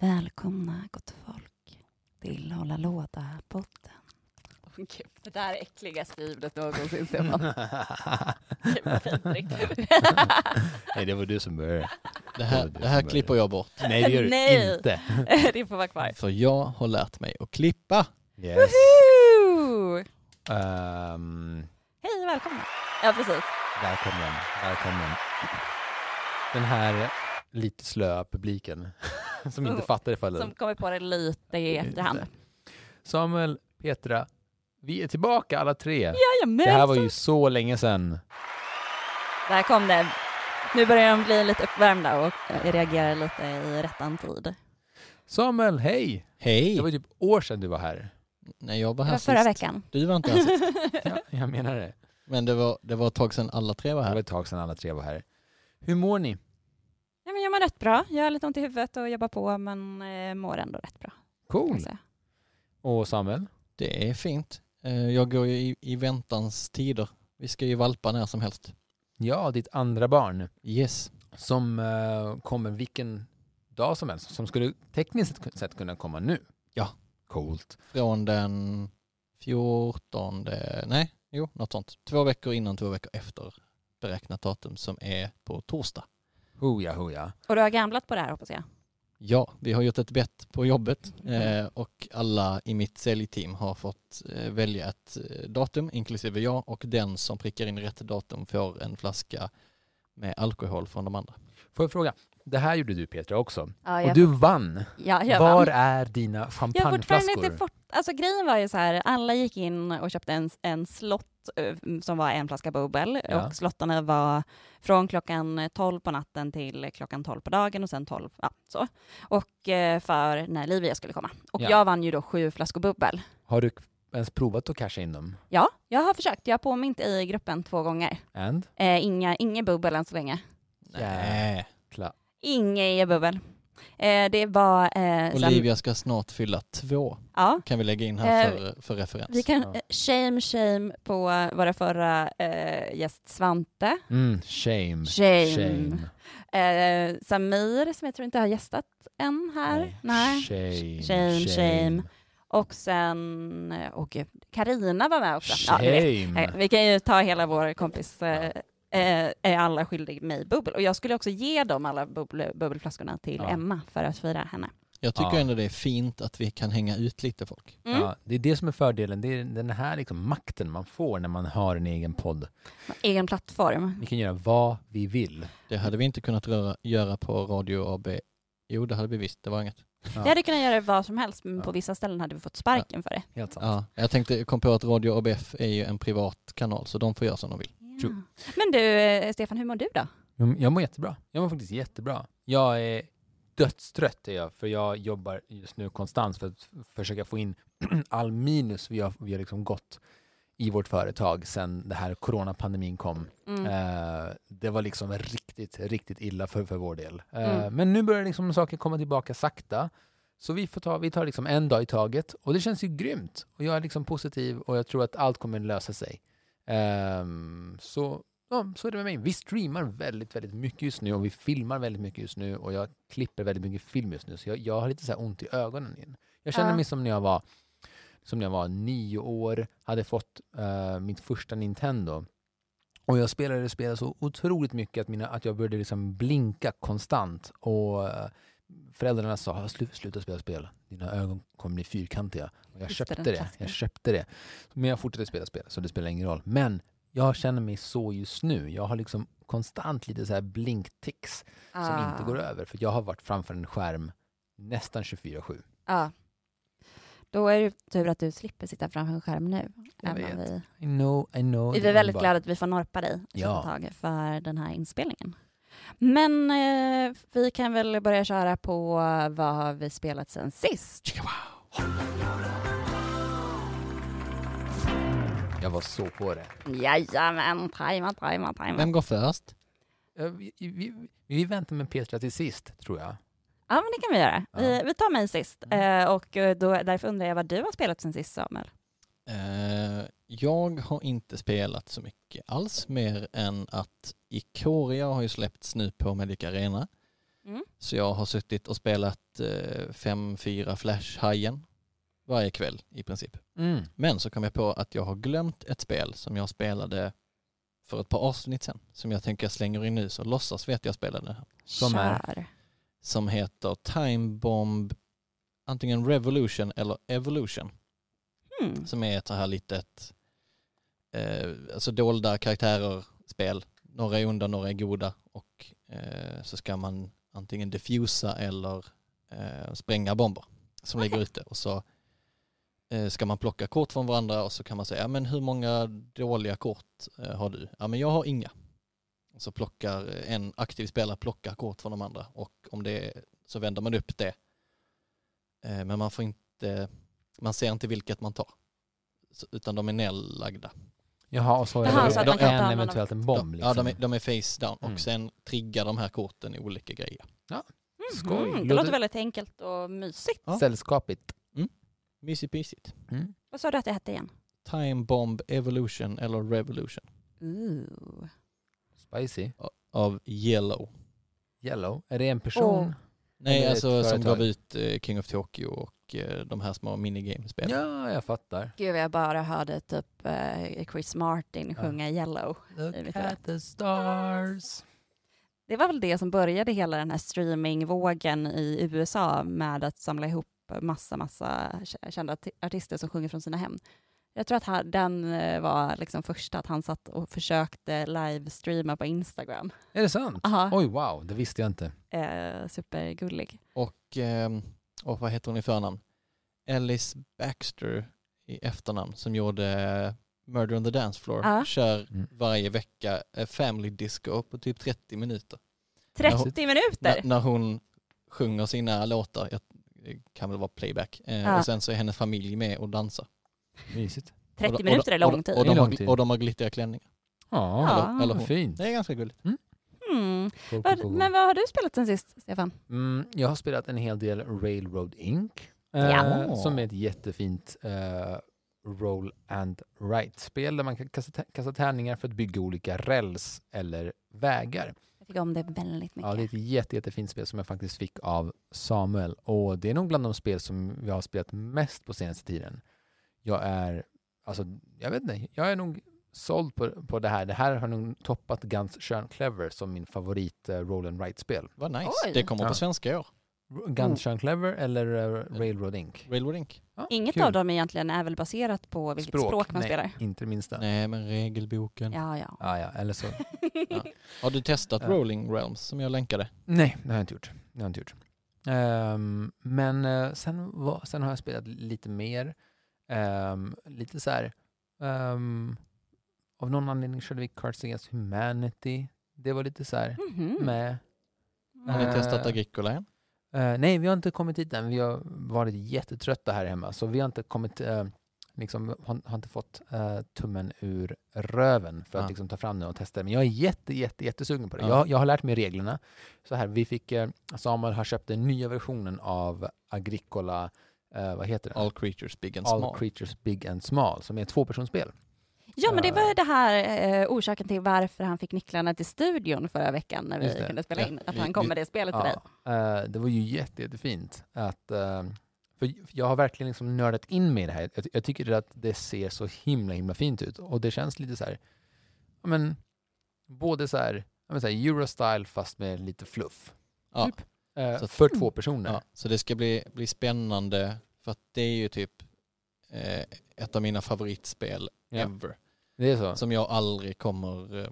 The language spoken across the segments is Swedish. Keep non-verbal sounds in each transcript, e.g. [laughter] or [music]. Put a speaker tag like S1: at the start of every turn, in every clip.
S1: Välkomna gott folk till Hålla låda-podden.
S2: Det där är äckligaste ljudet någonsin Stefan.
S3: [laughs] Nej, det var du som började.
S4: Det här, det här klipper jag bort.
S3: Nej, det gör du
S2: Nej.
S3: inte.
S2: det får vara kvar.
S4: För jag har lärt mig att klippa.
S3: Yes.
S2: Woho!
S3: Um,
S2: Hej och välkomna. Ja precis.
S3: välkommen, välkommen. Den här lite slöa publiken [laughs] som inte
S2: Oh,
S3: fattar ifall
S2: Som kommer på det lite i efterhand.
S3: Samuel, Petra, vi är tillbaka alla tre.
S2: Jajamän.
S3: Det här var ju så länge sedan.
S2: Där kom den. Nu börjar de bli lite uppvärmda och
S1: eh,
S2: reagerar lite i rättan tid.
S3: Samuel, hej!
S4: Hej!
S3: Det var typ år sedan du var här.
S4: Nej, jag var
S1: Det
S4: här
S1: var
S4: sist.
S1: förra veckan.
S4: Du var
S1: [laughs]
S4: inte här sist.
S3: Ja, jag menar det.
S4: Men det var, det var ett tag sedan alla tre var
S3: Det var
S4: här.
S3: ett tag sedan alla tre var här. Hur mår ni?
S1: Ja, men jag mår rätt bra. Jag har lite ont i huvudet och jobbar på, men eh, mår ändå rätt bra. kan
S3: Cool.
S1: jag säga.
S3: Och Samuel?
S4: Det är fint. Eh, Jag går ju i, i väntans tider. Vi ska ju valpa när som helst.
S3: Ja, ditt andra barn.
S4: Yes.
S3: som eh, kommer vilken dag som helst, som skulle tekniskt sett kunna komma nu.
S4: Ja.
S3: Coolt.
S4: Från den 14, nej, jo, något sånt. Två veckor innan, två veckor efter beräknat datum som är på torsdag.
S3: Hoja, hoja.
S1: Och du har gamblat på det här hoppas jag.
S4: Ja, vi har gjort ett bett på jobbet eh, och alla i mitt säljteam har fått eh, välja ett eh, datum, inklusive jag, och den som prickar in rätt datum får en flaska med alkohol från de andra.
S3: Får jag fråga, det här gjorde du Petra också.
S1: Ja,
S3: Och du vann.
S1: ja, jag
S3: Var
S1: vann.
S3: är dina
S1: Jag har fortfarande
S3: champagneflaskor?
S1: inte fått... Alltså grejen var ju så här, alla gick in och köpte en, en slott eh, som var en flaska bubbel
S3: Ja.
S1: och slottarna var från klockan 12 på natten till klockan 12 på dagen och sen 12, ja så. Och eh, för när Livia skulle komma. Och
S3: Ja.
S1: jag vann ju då sju flaskor bubbel.
S3: Har du ens provat att casha in dem?
S1: Ja, jag har försökt. Jag har påmint i gruppen två gånger.
S3: And?
S1: Eh, inga, inga bubbel än så länge.
S4: Eh,
S3: Nej. Kla-
S1: Inga är bubbel. Eh, det var... Eh, Sen,
S4: Olivia ska snart fylla två,
S1: ja,
S4: kan vi lägga in här
S1: Eh,
S4: för, för referens.
S1: vi kan...
S3: Ja.
S1: eh, Shame, shame på våra förra eh, gäst Svante.
S3: Mm, shame.
S1: Shame.
S3: Shame.
S1: Eh, Samir, som jag tror inte har gästat än här. Nej.
S3: Mm. Shame.
S1: Shame, shame. Och sen... eh, Åh gud, Carina var med också. Ja, ni vet. Nej,
S3: Shame.
S1: vi kan ju ta hela vår kompis eh, eh, är alla skyldig mig bubbel. Och jag skulle också ge dem alla bubbel, bubbelflaskorna till
S3: Ja.
S1: Emma för att fira henne.
S4: Jag tycker
S3: Ja.
S4: ändå det är fint att vi kan hänga ut lite folk.
S1: Mm.
S3: Ja, det är det som är fördelen. Det är den här liksom makten man får när man har en egen podd.
S1: Egen plattform.
S3: Vi kan göra vad vi vill.
S4: Det hade vi inte kunnat röra, göra på Radio AB. Jo, det hade vi visst, det var inget.
S3: Ja.
S1: Jag hade kunnat göra vad som helst, men
S3: Ja.
S1: på vissa ställen hade vi fått sparken för det.
S3: Helt sant.
S4: Ja, jag tänkte, jag kom på att Radio ABF är ju en privat kanal, så de får göra som de vill.
S3: True.
S1: Ja. Men du, eh, Stefan, hur mår du då?
S3: Jo, men Jag mår jättebra. Jag mår faktiskt jättebra. Jag är dödstrött är jag, för jag jobbar just nu konstant för att f- försöka få in [clears throat] all minus vi har, vi har liksom gått i vårt företag sedan det här coronapandemin kom.
S1: Mm.
S3: Eh, det var liksom riktigt, riktigt illa för, för vår del. Eh,
S1: Mm.
S3: Men nu börjar liksom saker komma tillbaka sakta. Så vi, får ta, vi tar liksom en dag i taget och det känns ju grymt. Och jag är liksom positiv och jag tror att allt kommer lösa sig. Ehm, så, ja, så är det med mig. Vi streamar väldigt, väldigt mycket just nu och vi filmar väldigt mycket just nu och jag klipper väldigt mycket film just nu. Så jag, jag har lite så här ont i ögonen igen. Jag känner
S1: Ja.
S3: mig som när jag var som när jag var nio år, hade fått eh, mitt första Nintendo. Och jag spelade det spelet så otroligt mycket att, mina, att jag började liksom blinka konstant. Och eh, föräldrarna sa, "Slu- sluta spela spel, dina ögon kommer bli fyrkantiga. Och jag
S1: Just det,
S3: köpte
S1: den
S3: det,
S1: klassiken.
S3: jag köpte det. Men jag fortsatte spela spel, så det spelar ingen roll. Men jag känner mig så just nu. Jag har liksom konstant lite så här blinktics
S1: Ah.
S3: som inte går över. För jag har varit framför en skärm nästan 24-7.
S1: Ja. Då är det tur att du slipper sitta framför en skärm nu.
S3: Jag
S1: även om
S3: vet.
S1: vi,
S3: I know, I know.
S1: vi
S3: Det
S1: är väldigt
S3: bara-
S1: glada att vi får norpa dig ett
S3: Ja.
S1: tag för den här inspelningen. Men eh, vi kan väl börja köra på vad har vi spelat sen sist?
S3: Jag var så på det.
S1: Jajamän, tajma, tajma,
S3: Mm.
S1: tajma.
S4: Vem går först?
S3: Eh, Vi, vi, vi väntar med Petra till sist, tror jag.
S1: Ja, men det kan vi göra. Vi, vi tar mig sist.
S3: Mm.
S1: Eh, och eh, då, därför undrar jag vad du har spelat sen sist, Samuel.
S4: Eh, jag har inte spelat så mycket alls mer än att Ikoria har ju släppts nu på Medic Arena.
S1: Mm.
S4: Så jag har suttit och spelat eh, fem, fyra Flash-hajen varje kväll i princip.
S3: Mm.
S4: Men så kom jag på att jag har glömt ett spel som jag spelade för ett par avsnitt sedan som jag tänker jag slänger in nu så låtsas vi att jag spelade det här.
S3: Som är?
S1: Kör.
S4: Som heter Time Bomb antingen Revolution eller Evolution
S1: Hmm.
S4: som är ett så här litet eh, alltså dolda karaktärer-spel. Några är onda, några är goda och eh, så ska man antingen diffusa eller eh, spränga bomber som ligger ute och så eh, ska man plocka kort från varandra och så kan man säga, ja men hur många dåliga kort eh, har du? Ja men jag har inga. Och så plockar eh, en aktiv spelare plockar kort från de andra och om det är, så vänder man upp det. Eh, men man får inte, man ser inte vilket man tar. Så- Utan de är nedlagda.
S3: Jaha, och så har
S1: Jaha,
S3: jag
S4: så att
S3: en
S4: man kan
S1: ta
S3: en
S1: använda-
S3: eventuellt en
S4: de,
S3: bomb. Liksom.
S4: Ja, de är, de är face down
S3: Mm.
S4: och sen triggar de här korten i olika grejer.
S3: Skoj.
S1: Mhm, Det
S3: Låter-
S1: låter väldigt enkelt och mysigt.
S4: Ja.
S3: Sällskapigt.
S4: Mysigt mysigt.
S3: Mm.
S1: Vad sa du att det hette igen?
S4: Time Bomb Evolution eller Revolution
S1: Ooh.
S3: Spicy.
S4: av Yellow.
S3: Yellow. Är det en person?
S1: Åh.
S4: Nej,
S3: Eller ett
S4: alltså som
S3: företag.
S4: gav ut eh, King of Tokyo och eh, de här små minigamespelen.
S3: Ja, jag fattar.
S1: Gud, jag bara hörde typ eh, Chris Martin
S3: Ja.
S1: sjunga Yellow. Det
S3: Look
S1: vet jag.
S3: at the stars.
S1: Det var väl det som började hela den här streamingvågen i USA med att samla ihop massa, massa k- kända arti- artister som sjunger från sina hem. Jag tror att han, den eh, var liksom första, att han satt och försökte livestreama på Instagram.
S3: Är det sant?
S1: Aha,
S3: Oj, wow. Det visste jag inte.
S1: eh, supergullig.
S4: Och, ehm, och vad heter hon i förnamn? Alice Baxter i efternamn som gjorde eh, Murder on the Dance Floor.
S1: Ja.
S4: Kör
S3: Mm.
S4: varje vecka eh, Family Disco på typ 30 minuter.
S1: 30
S4: När,
S1: minuter!
S4: när hon sjunger sina låtar, jag, det kan väl vara playback, eh,
S1: Ja.
S4: och sen så är hennes familj med och dansar.
S3: Mysigt.
S4: Och de-
S1: 30
S4: och
S1: minuter
S4: de-
S1: är
S4: och de-
S1: lång tid.
S4: Och
S3: Det är
S4: de, har,
S3: lång tid.
S4: och de har glittriga klänningar.
S3: Ja,
S1: Ja.
S4: Eller, eller
S3: vad
S4: hon.
S3: fint.
S4: Det är ganska gulligt.
S1: Mm.
S3: Cool, cool,
S1: Vad-
S3: cool, cool.
S1: Men vad har du spelat sen sist, Stefan?
S3: Mm, jag har spelat en hel del Railroad Inc. eh,
S4: Ja.
S3: Som är ett jättefint eh, roll and write-spel där man kan kasta, te- kasta tärningar för att bygga olika räls eller vägar.
S1: Jag tycker om det väldigt mycket.
S3: Ja, det är ett jätte, jättefint spel som jag faktiskt fick av Samuel och det är nog bland de spel som jag har spelat mest på senaste tiden. Jag är, alltså jag vet inte, jag är nog såld på, på det här. Det här har nog toppat Guns Shern Clever som min favorit eh, roll and write-spel.
S4: Vad nice.
S1: Oj.
S4: Det kommer
S3: Ja.
S4: på svenska i år.
S3: Guns Shern Clever eller eh, Railroad Inc?
S4: Railroad Inc.
S3: Ja,
S1: Inget
S3: kul.
S1: av dem egentligen är väl baserat på vilket språk, man
S3: Nej,
S1: spelar?
S3: inte det minsta.
S4: Nej, men regelboken.
S1: Ja, ja.
S3: Ah, ja, eller så.
S4: Har du testat
S3: Ja.
S4: Rolling Realms som jag länkade?
S3: Nej, det har jag inte gjort. Det har jag inte gjort. Ehm, men eh, sen, var, sen har jag spelat lite mer. Ehm, lite så här. ehm, av någon anledning körde vi Cards Against Humanity. Det var lite så här
S1: [laughs] Mhm.
S3: med.
S4: Har ni
S3: Eh,
S4: testat Agricola än?
S3: Eh, nej, vi har inte kommit dit än. Vi har varit jättetrötta här hemma. Så vi har inte kommit, eh, liksom, har, har inte fått eh, tummen ur röven för att
S4: Ja.
S3: liksom, ta fram den och testa. Men jag är jätte, jätte, jättesugen på det.
S4: Ja.
S3: Jag, jag har lärt mig reglerna. Så här, vi fick, eh, Samuel har köpt den nya versionen av Agricola, eh, vad heter den?
S4: All Creatures Big and
S3: All
S4: Small.
S3: Creatures Big and Small, som är ett tvåpersonsspel.
S1: Ja, men det
S3: Eh.
S1: var det här eh, orsaken till varför han fick nycklarna till studion förra veckan när vi
S3: Just det.
S1: kunde spela
S4: Ja,
S1: in. Att
S4: vi-
S1: han kom
S4: vi-
S1: med det spelet till dig.
S3: eh, det var ju jätte, jättefint. Att, eh, för jag har verkligen liksom nördat in mig i det här. Jag, ty- jag tycker att det ser så himla, himla fint ut. Och det känns lite så här, ja, men, både så här, ja, men så här Eurostyle fast med lite fluff.
S4: Ja.
S3: Typ. Eh,
S4: Så att-
S3: för två personer.
S4: mm. Ja, så det ska bli, bli spännande för att det är ju typ eh, ett av mina favoritspel
S3: Ja.
S4: ever.
S3: Det är så.
S4: Som jag aldrig kommer eh,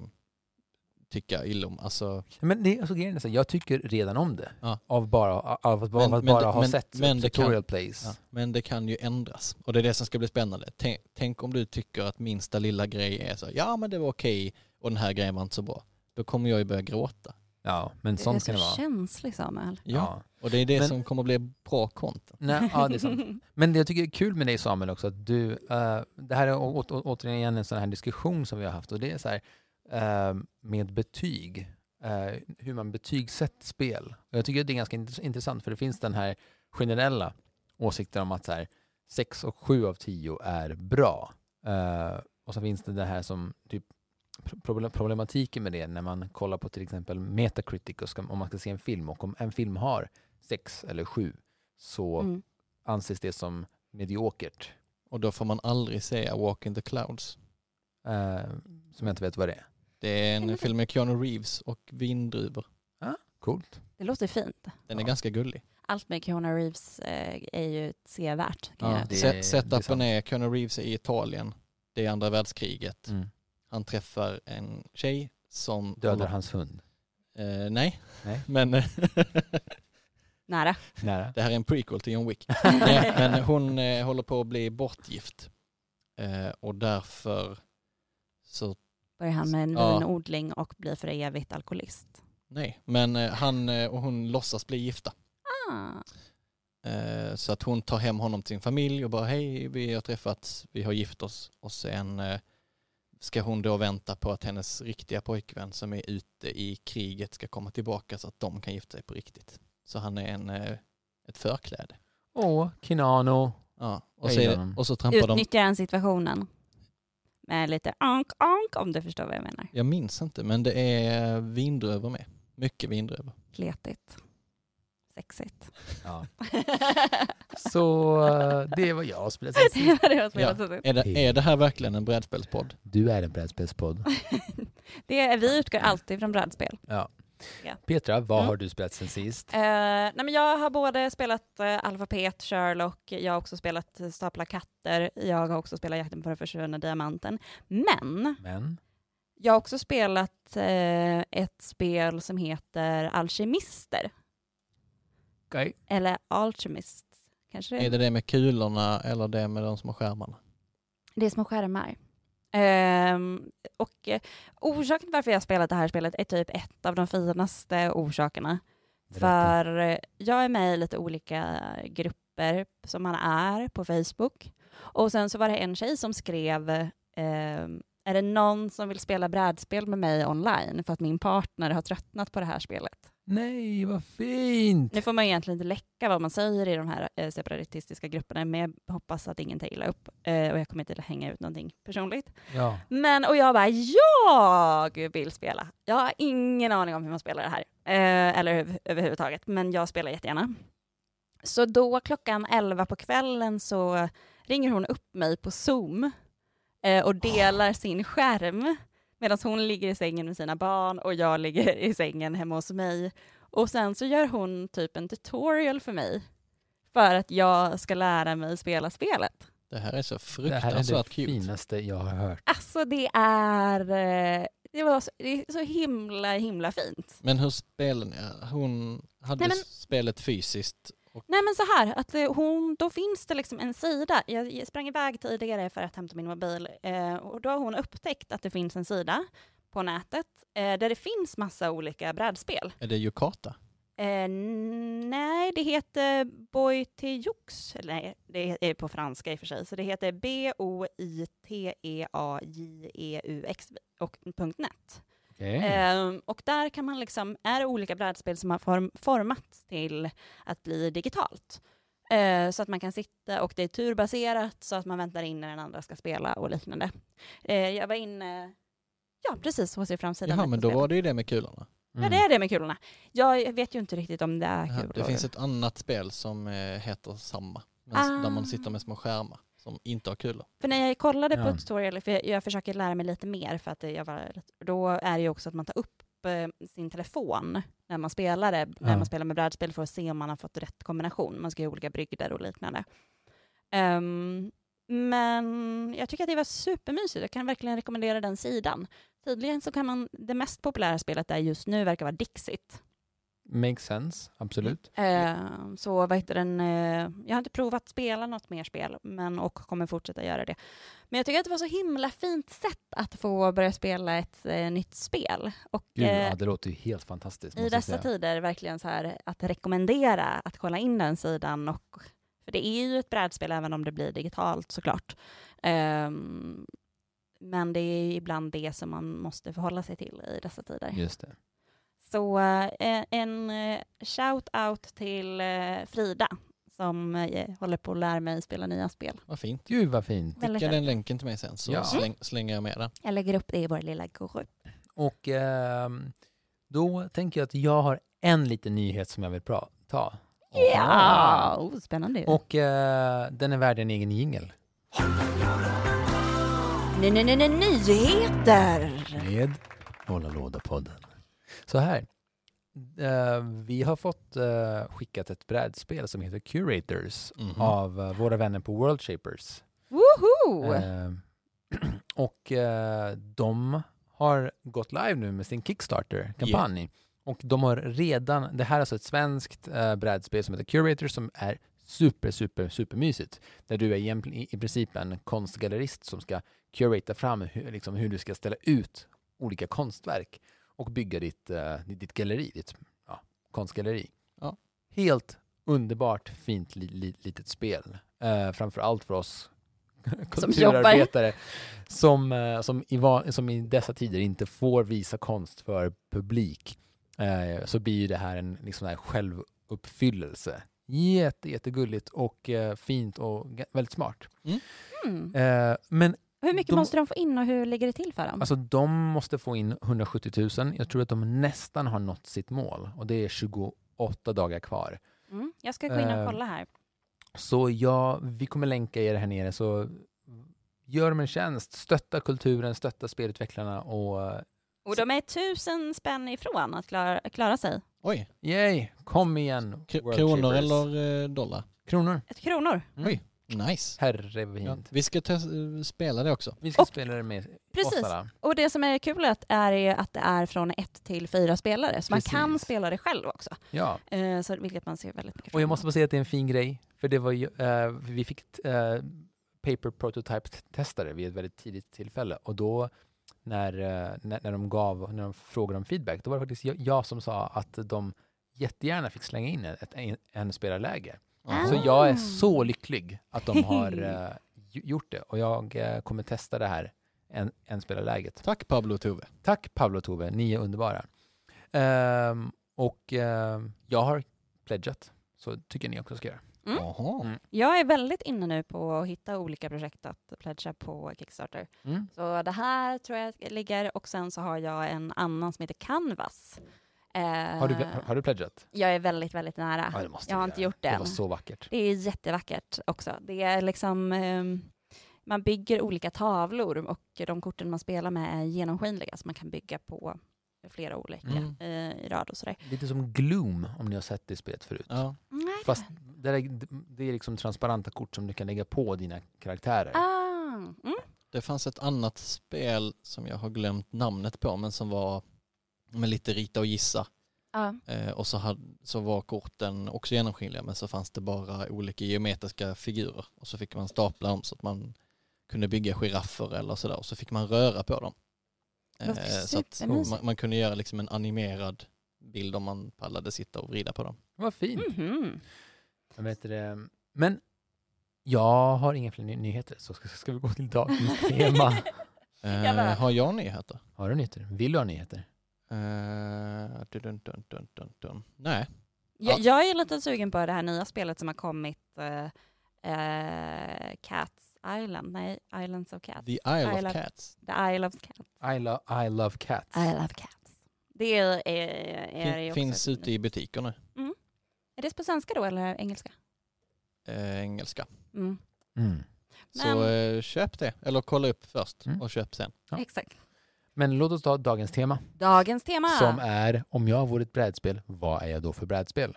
S4: tycka illa om. Alltså,
S3: Men det, är- alltså, grejen är så här, jag tycker redan om det.
S4: Ja.
S3: Av, bara, av att bara,
S4: Men-
S3: av att
S4: men
S3: bara
S4: det-
S3: ha
S4: men-
S3: sett
S4: men det kan-
S3: tutorial plays.
S4: ja. Men det kan ju ändras och det är det som ska bli spännande. Tänk, tänk om du tycker att minsta lilla grej är så här, ja men det var okej och den här grejen var inte så bra. Då kommer jag ju börja gråta.
S3: Ja, men
S1: Du är
S3: sånt kan
S1: så
S3: det vara.
S1: känslig Samuel.
S4: Ja, och det är det
S3: Men-
S4: som kommer bli bra content.
S3: Nej, ja, det är sant.
S1: [laughs]
S3: Men det jag tycker är kul med dig Samuel också, att du, eh, det här är å- å- återigen en sån här diskussion som vi har haft och det är så här eh, med betyg, eh, hur man betygsätter spel. Och jag tycker att det är ganska int- intressant för det finns den här generella åsikten om att så här, 6 och 7 av 10 är bra. Eh, och så finns det det här som typ proble- problematiken med det när man kollar på till exempel Metacritic och ska, om man ska se en film och om en film har 6 eller 7 så
S1: Mm.
S3: anses det som mediokert.
S4: Och då får man aldrig säga Walk in the Clouds.
S3: Eh, som jag inte vet vad det är.
S4: Det är en film med Keanu Reeves och vindruvor.
S3: Coolt.
S1: Det låter fint.
S4: Den är
S3: Ja.
S4: ganska gullig.
S1: Allt med Keanu Reeves eh, är ju sevärt. Kan
S4: Ja,
S1: jag.
S3: det-
S4: se-
S3: det är
S4: Setupen
S3: sant.
S4: är, Keanu Reeves är i Italien, det är andra världskriget.
S3: Mm.
S4: Han träffar en tjej som...
S3: Dödar hans hund.
S4: Eh, nej.
S3: Nej.
S4: [laughs] men eh,
S1: Nära.
S3: [laughs] Nära.
S4: det här är en prequel till John Wick.
S3: [laughs]
S4: nej, men hon eh, håller på att bli bortgift. Eh, och därför så
S1: Börjar han med en
S4: Ja.
S1: vinodling och blir för evigt alkoholist.
S4: Nej, men eh, han eh, och hon låtsas bli gifta.
S1: Ah.
S4: Eh, Så att hon tar hem honom till sin familj och bara hej, vi har träffats, vi har gift oss. Och sen eh, ska hon då vänta på att hennes riktiga pojkvän som är ute i kriget ska komma tillbaka så att de kan gifta sig på riktigt. Så han är en, eh, ett förkläde.
S3: Åh, Kinano.
S4: Ja, och,
S3: Jag
S4: så är
S3: gillar
S4: det,
S3: honom.
S4: och så trampar de,
S1: Utnyttjar han situationen? Med lite ank ank om du förstår vad jag menar.
S4: jag minns inte, men det är vindruvor med. Mycket vindruvor.
S1: Kletigt. Sexigt.
S3: Ja. [laughs] Så eh, det
S1: [laughs]
S3: var jag spelat sen sist.
S1: det var det jag spelade så
S4: Är det, är det här verkligen en brädspelspodd?
S3: Du är en brädspelspodd.
S1: [laughs] det är, Vi utgår alltid från brädspel.
S3: Ja.
S1: Ja.
S3: Petra, vad
S1: Mm.
S3: har du spelat sen sist?
S1: Eh, nej men jag har både spelat uh, Alfapet, Sherlock, jag har också spelat eh, Stapla katter, jag har också spelat Jakten på den försvunna diamanten. Men
S3: Men?
S1: jag har också spelat eh, ett spel som heter Alkemister,
S3: Okay.
S1: eller Alchemist kanske det
S4: Är
S1: är.
S4: det det med kulorna eller det med de små skärmarna?
S1: Det är små skärmar. Ehm, och eh, orsaken till varför jag har spelat det här spelet är typ ett av de finaste orsakerna. För eh, jag är med i lite olika grupper som man är på Facebook. Och sen så var det en tjej som skrev, ehm, är det någon som vill spela brädspel med mig online för att min partner har tröttnat på det här spelet?
S3: Nej, vad fint!
S1: Nu får man egentligen inte läcka vad man säger i de här eh, separatistiska grupperna, men jag hoppas att ingen tar illa upp eh, och jag kommer inte hänga ut någonting personligt.
S3: Ja.
S1: Men och jag bara, jag vill spela. Jag har ingen aning om hur man spelar det här. Eh, eller över, överhuvudtaget, men jag spelar jättegärna. Så då klockan 11 på kvällen så ringer hon upp mig på Zoom eh, och delar sin skärm medan hon ligger i sängen med sina barn och jag ligger i sängen hemma hos mig. Och sen så gör hon typ en tutorial för mig för att jag ska lära mig spela spelet.
S4: Det här är så
S3: Det här är det
S4: fruktansvärt cute.
S3: finaste jag har hört.
S1: Alltså det är, eh, det, var så, det är så himla, himla fint.
S4: Men hur spelen är? Hon hade
S1: Nej, men-
S4: spelet fysiskt. Och,
S1: Nej men så här, att eh, hon, då finns det liksom en sida. Jag jag sprang iväg tidigare för att hämta min mobil eh, och då har hon upptäckt att det finns en sida på nätet eh, där det finns massa olika brädspel.
S4: är det Yukata?
S1: Eh, n- nej, det heter Boitejux. Eller Nej, det är på franska i och för sig. Så det heter E B-O-I-T-E-A-J-E-U-X E och .net.
S3: Okej.
S1: Ehm, och där kan man liksom, är det olika brädspel som har form, formats till att bli digitalt. Eh, så att man kan sitta och det är turbaserat så att man väntar in när den andra ska spela och liknande. Eh, jag var inne, ja precis, hos er framsida.
S4: Jaha, men då var det ju det med kulorna.
S3: Mm.
S1: Ja det är det med kulorna. Jag vet ju inte riktigt om det är
S4: Jaha,
S1: kulor.
S4: Det finns ett annat spel som eh, heter samma, men
S1: Ah.
S4: där man sitter med små skärmar som inte har kulor.
S1: För när jag kollade
S3: Ja.
S1: på tutorial, för jag, jag försöker lära mig lite mer, för att jag var, då är det ju också att man tar upp eh, sin telefon när man spelar, det, när
S3: Ja.
S1: man spelar med brädspel för att se om man har fått rätt kombination. Man ska ju ha olika brygder och liknande. Ehm, men jag tycker att det var supermysigt. Jag kan verkligen rekommendera den sidan. Tydligen så kan man, det mest populära spelet där just nu verkar vara Dixit.
S3: Makes sense, absolut.
S1: Eh, så vad heter den, eh, jag har inte provat spela något mer spel men, och kommer fortsätta göra det. Men jag tycker att det var så himla fint sätt att få börja spela ett eh, nytt spel. Och,
S3: Gud,
S1: eh,
S3: ja, det låter ju helt fantastiskt. måste
S1: I
S3: jag
S1: dessa
S3: säga.
S1: tider verkligen så här att rekommendera att kolla in den sidan. Och, för det är ju ett brädspel även om det blir digitalt såklart. Ehm, men det är ju ibland det som man måste förhålla sig till i dessa tider.
S3: Just det.
S1: Så eh, en shout-out till eh, Frida som eh, håller på att lära mig spela nya spel.
S4: Vad fint.
S3: Gud vad fint.
S1: Väldigt
S4: Skicka
S1: fint.
S4: den länken till mig sen så
S3: Ja.
S4: släng, slänger jag med den.
S1: Jag lägger upp det i vår lilla grupp.
S3: Och ehm, då tänker jag att jag har en liten nyhet som jag vill pra- ta.
S1: Ja, oh, spännande. ju.
S3: Och eh, den är värd en egen jingel.
S5: Nej, nej, nej, nej, nyheter!
S3: Med Hålla låda-podden. Så här. Eh, vi har fått eh, skickat ett brädspel som heter Curators
S4: Mhm.
S3: av eh, våra vänner på World Shapers.
S5: Woho!
S3: Eh, [clears throat] och eh, de har gått live nu med sin Kickstarter-kampanj. Och de har redan, det här är alltså ett svenskt eh, brädspel som heter Curator som är super, super, supermysigt. Där du är egentligen i, i princip en konstgallerist som ska curata fram hur, liksom, hur du ska ställa ut olika konstverk och bygga ditt, eh, ditt galleri, ditt ja, konstgalleri.
S4: Ja.
S3: Helt underbart fint li, li, litet spel. Eh, framför allt för oss [laughs]
S5: jobbar.
S3: kulturarbetare som, eh, som, i va- som i dessa tider inte får visa konst för publik eh, så blir ju det här en liksom här självuppfyllelse. Jätte, jättegulligt och eh, fint och ga- väldigt smart.
S1: Mm.
S3: Eh, men
S1: Hur mycket
S3: de-
S1: måste de få in och hur ligger det till för
S4: Mm.
S1: dem?
S3: Alltså de måste få in 170 000. Jag tror att de nästan har nått sitt mål och det är 28 dagar kvar.
S1: Mm. Jag ska gå in och
S3: eh,
S1: kolla här.
S3: Så ja, vi kommer länka er här nere så gör dem en tjänst. Stötta kulturen, stötta spelutvecklarna och eh,
S1: Och de är tusen spänn ifrån att klara, klara sig.
S4: Oj,
S3: yay, kom igen.
S4: Kr-
S3: World
S4: kronor
S3: Shapers.
S4: eller eh, dollar?
S3: Kronor.
S1: Ett kronor.
S4: Mm. Nice.
S3: Herre
S4: Ja.
S3: vint.
S4: Vi ska tes- spela det också.
S3: Vi ska
S1: Och-
S3: spela det med
S1: Precis.
S3: oss alla.
S1: Och det som är kul att är ju att det är från ett till fyra spelare, så
S3: Precis.
S1: man kan spela det själv också.
S3: Ja.
S1: Eh, så, vilket man ser väldigt mycket
S3: Och
S1: fram
S3: jag måste bara säga att det är en fin grej, för det var ju, eh, vi fick eh, paper prototype-testare vid ett väldigt tidigt tillfälle och då när, eh, när, när de gav, när de frågade om feedback, då var det faktiskt jag, jag som sa att de jättegärna fick slänga in ett, en, en spelarläge.
S1: Ah.
S3: Så jag är så lycklig att de har eh, gj- gjort det och jag eh, kommer testa det här en, en spelarläget.
S4: Tack Pablo och Tove.
S3: Tack Pablo och Tove, ni är underbara. Ehm, och ehm, jag har pledgat, så tycker ni också ska göra.
S1: Mm.
S4: Jaha.
S1: Jag är väldigt inne nu på att hitta olika projekt att pledga på Kickstarter.
S3: Mm.
S1: Så det här tror jag ligger och sen så har jag en annan som heter Canvas. Eh,
S3: Har, du, har du pledgat?
S1: Jag är väldigt, väldigt nära.
S3: det måste
S1: jag har
S3: du
S1: inte
S3: göra.
S1: gjort det
S3: Det
S1: än.
S3: var så vackert.
S1: Det är jättevackert också. Det är liksom, ehm, man bygger olika tavlor och de korten man spelar med är genomskinliga så man kan bygga på flera olika
S4: Mm.
S1: eh, i rad och sådär.
S3: Lite som Gloom, om ni har sett det spelet förut.
S4: Ja.
S1: Nej.
S3: Fast det är, det är liksom transparenta kort som du kan lägga på dina karaktärer.
S1: Ah, mm.
S4: Det fanns ett annat spel som jag har glömt namnet på men som var med lite rita och gissa.
S1: Ja.
S4: Eh, och så, hade, så var korten också genomskinliga men så fanns det bara olika geometriska figurer. Och så fick man stapla dem så att man kunde bygga giraffer eller sådär. Och så fick man röra på dem.
S1: Låter
S4: Eh, så att
S1: supermysigt.
S4: man, man kunde göra liksom en animerad bild om man pallade sitta och vrida på dem.
S3: Vad fint.
S1: Mhm.
S3: Jag vet det. Men jag har inga fler ny- nyheter, så ska, ska vi gå till
S1: [laughs]
S3: dagens tema.
S4: Eh, har jag nyheter?
S3: Har du nyheter? Vill du ha nyheter?
S4: Eh, dun, dun, dun, dun, dun. Nej.
S1: Jag,
S4: Ja.
S1: jag är lite sugen på det här nya spelet som har kommit, eh, eh, Cats Island, nej, Islands of Cats.
S4: The Isle,
S1: Isle
S4: of
S1: of-
S4: Cats.
S1: The Isle of Cats.
S3: I, lo- I love cats.
S1: Isle of Cats. Det är, är,
S4: Fin,
S1: är ju också
S4: finns
S1: ett-
S4: ute i butiker nu.
S1: Är det på svenska då eller engelska?
S4: Eh, engelska.
S1: Mm.
S3: Mm.
S4: Så
S1: Men-
S4: eh, köp det. Eller kolla upp först
S3: Mm.
S4: och köp sen.
S3: Ja.
S1: Exakt.
S3: Men låt oss ta dagens tema,
S1: Dagens tema.
S3: som är om jag vore ett brädspel, vad är jag då för brädspel?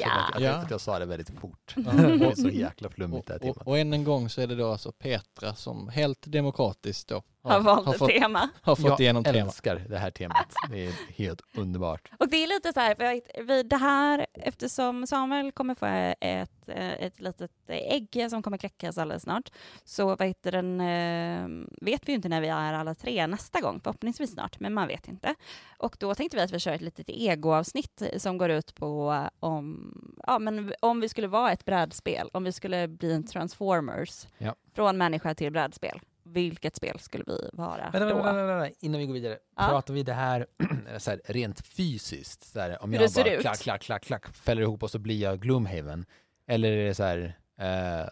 S5: Ja.
S3: Jag
S4: Ja.
S3: tänkte att jag sa det väldigt fort.
S4: Ja.
S3: [laughs] Det är så jäkla
S4: Och,
S3: flummigt det här
S4: och,
S3: temat.
S4: och än en gång så är det då alltså Petra som helt demokratiskt då
S1: har valt
S4: har
S1: ett
S4: fått,
S1: tema.
S4: har fått
S3: jag
S4: igenom tema.
S3: älskar det här temat. Det är helt underbart.
S1: Och det är lite så här, för jag, vi, det här, eftersom Samuel kommer få ett, eh, ett litet ägg som kommer kläckas alldeles snart, så vad heter den, eh, vet vi ju inte när vi är alla tre nästa gång, förhoppningsvis snart, men man vet inte. Och då tänkte vi att vi kör ett litet egoavsnitt som går ut på om, ja, men om vi skulle vara ett brädspel, om vi skulle bli en transformers,
S3: Ja.
S1: från människa till brädspel. Vilket spel skulle vi vara
S3: Vänta,
S1: då?
S3: vänta, vänta, vänta, innan vi går vidare.
S1: Ja.
S3: Pratar vi det här, [clears throat] så här rent fysiskt? Så här, om
S1: Hur
S3: jag
S1: det ser
S3: bara
S1: ut.
S3: klack, klack, klack, klack, fäller ihop och så blir jag Gloomhaven? Eller är det så här, eh,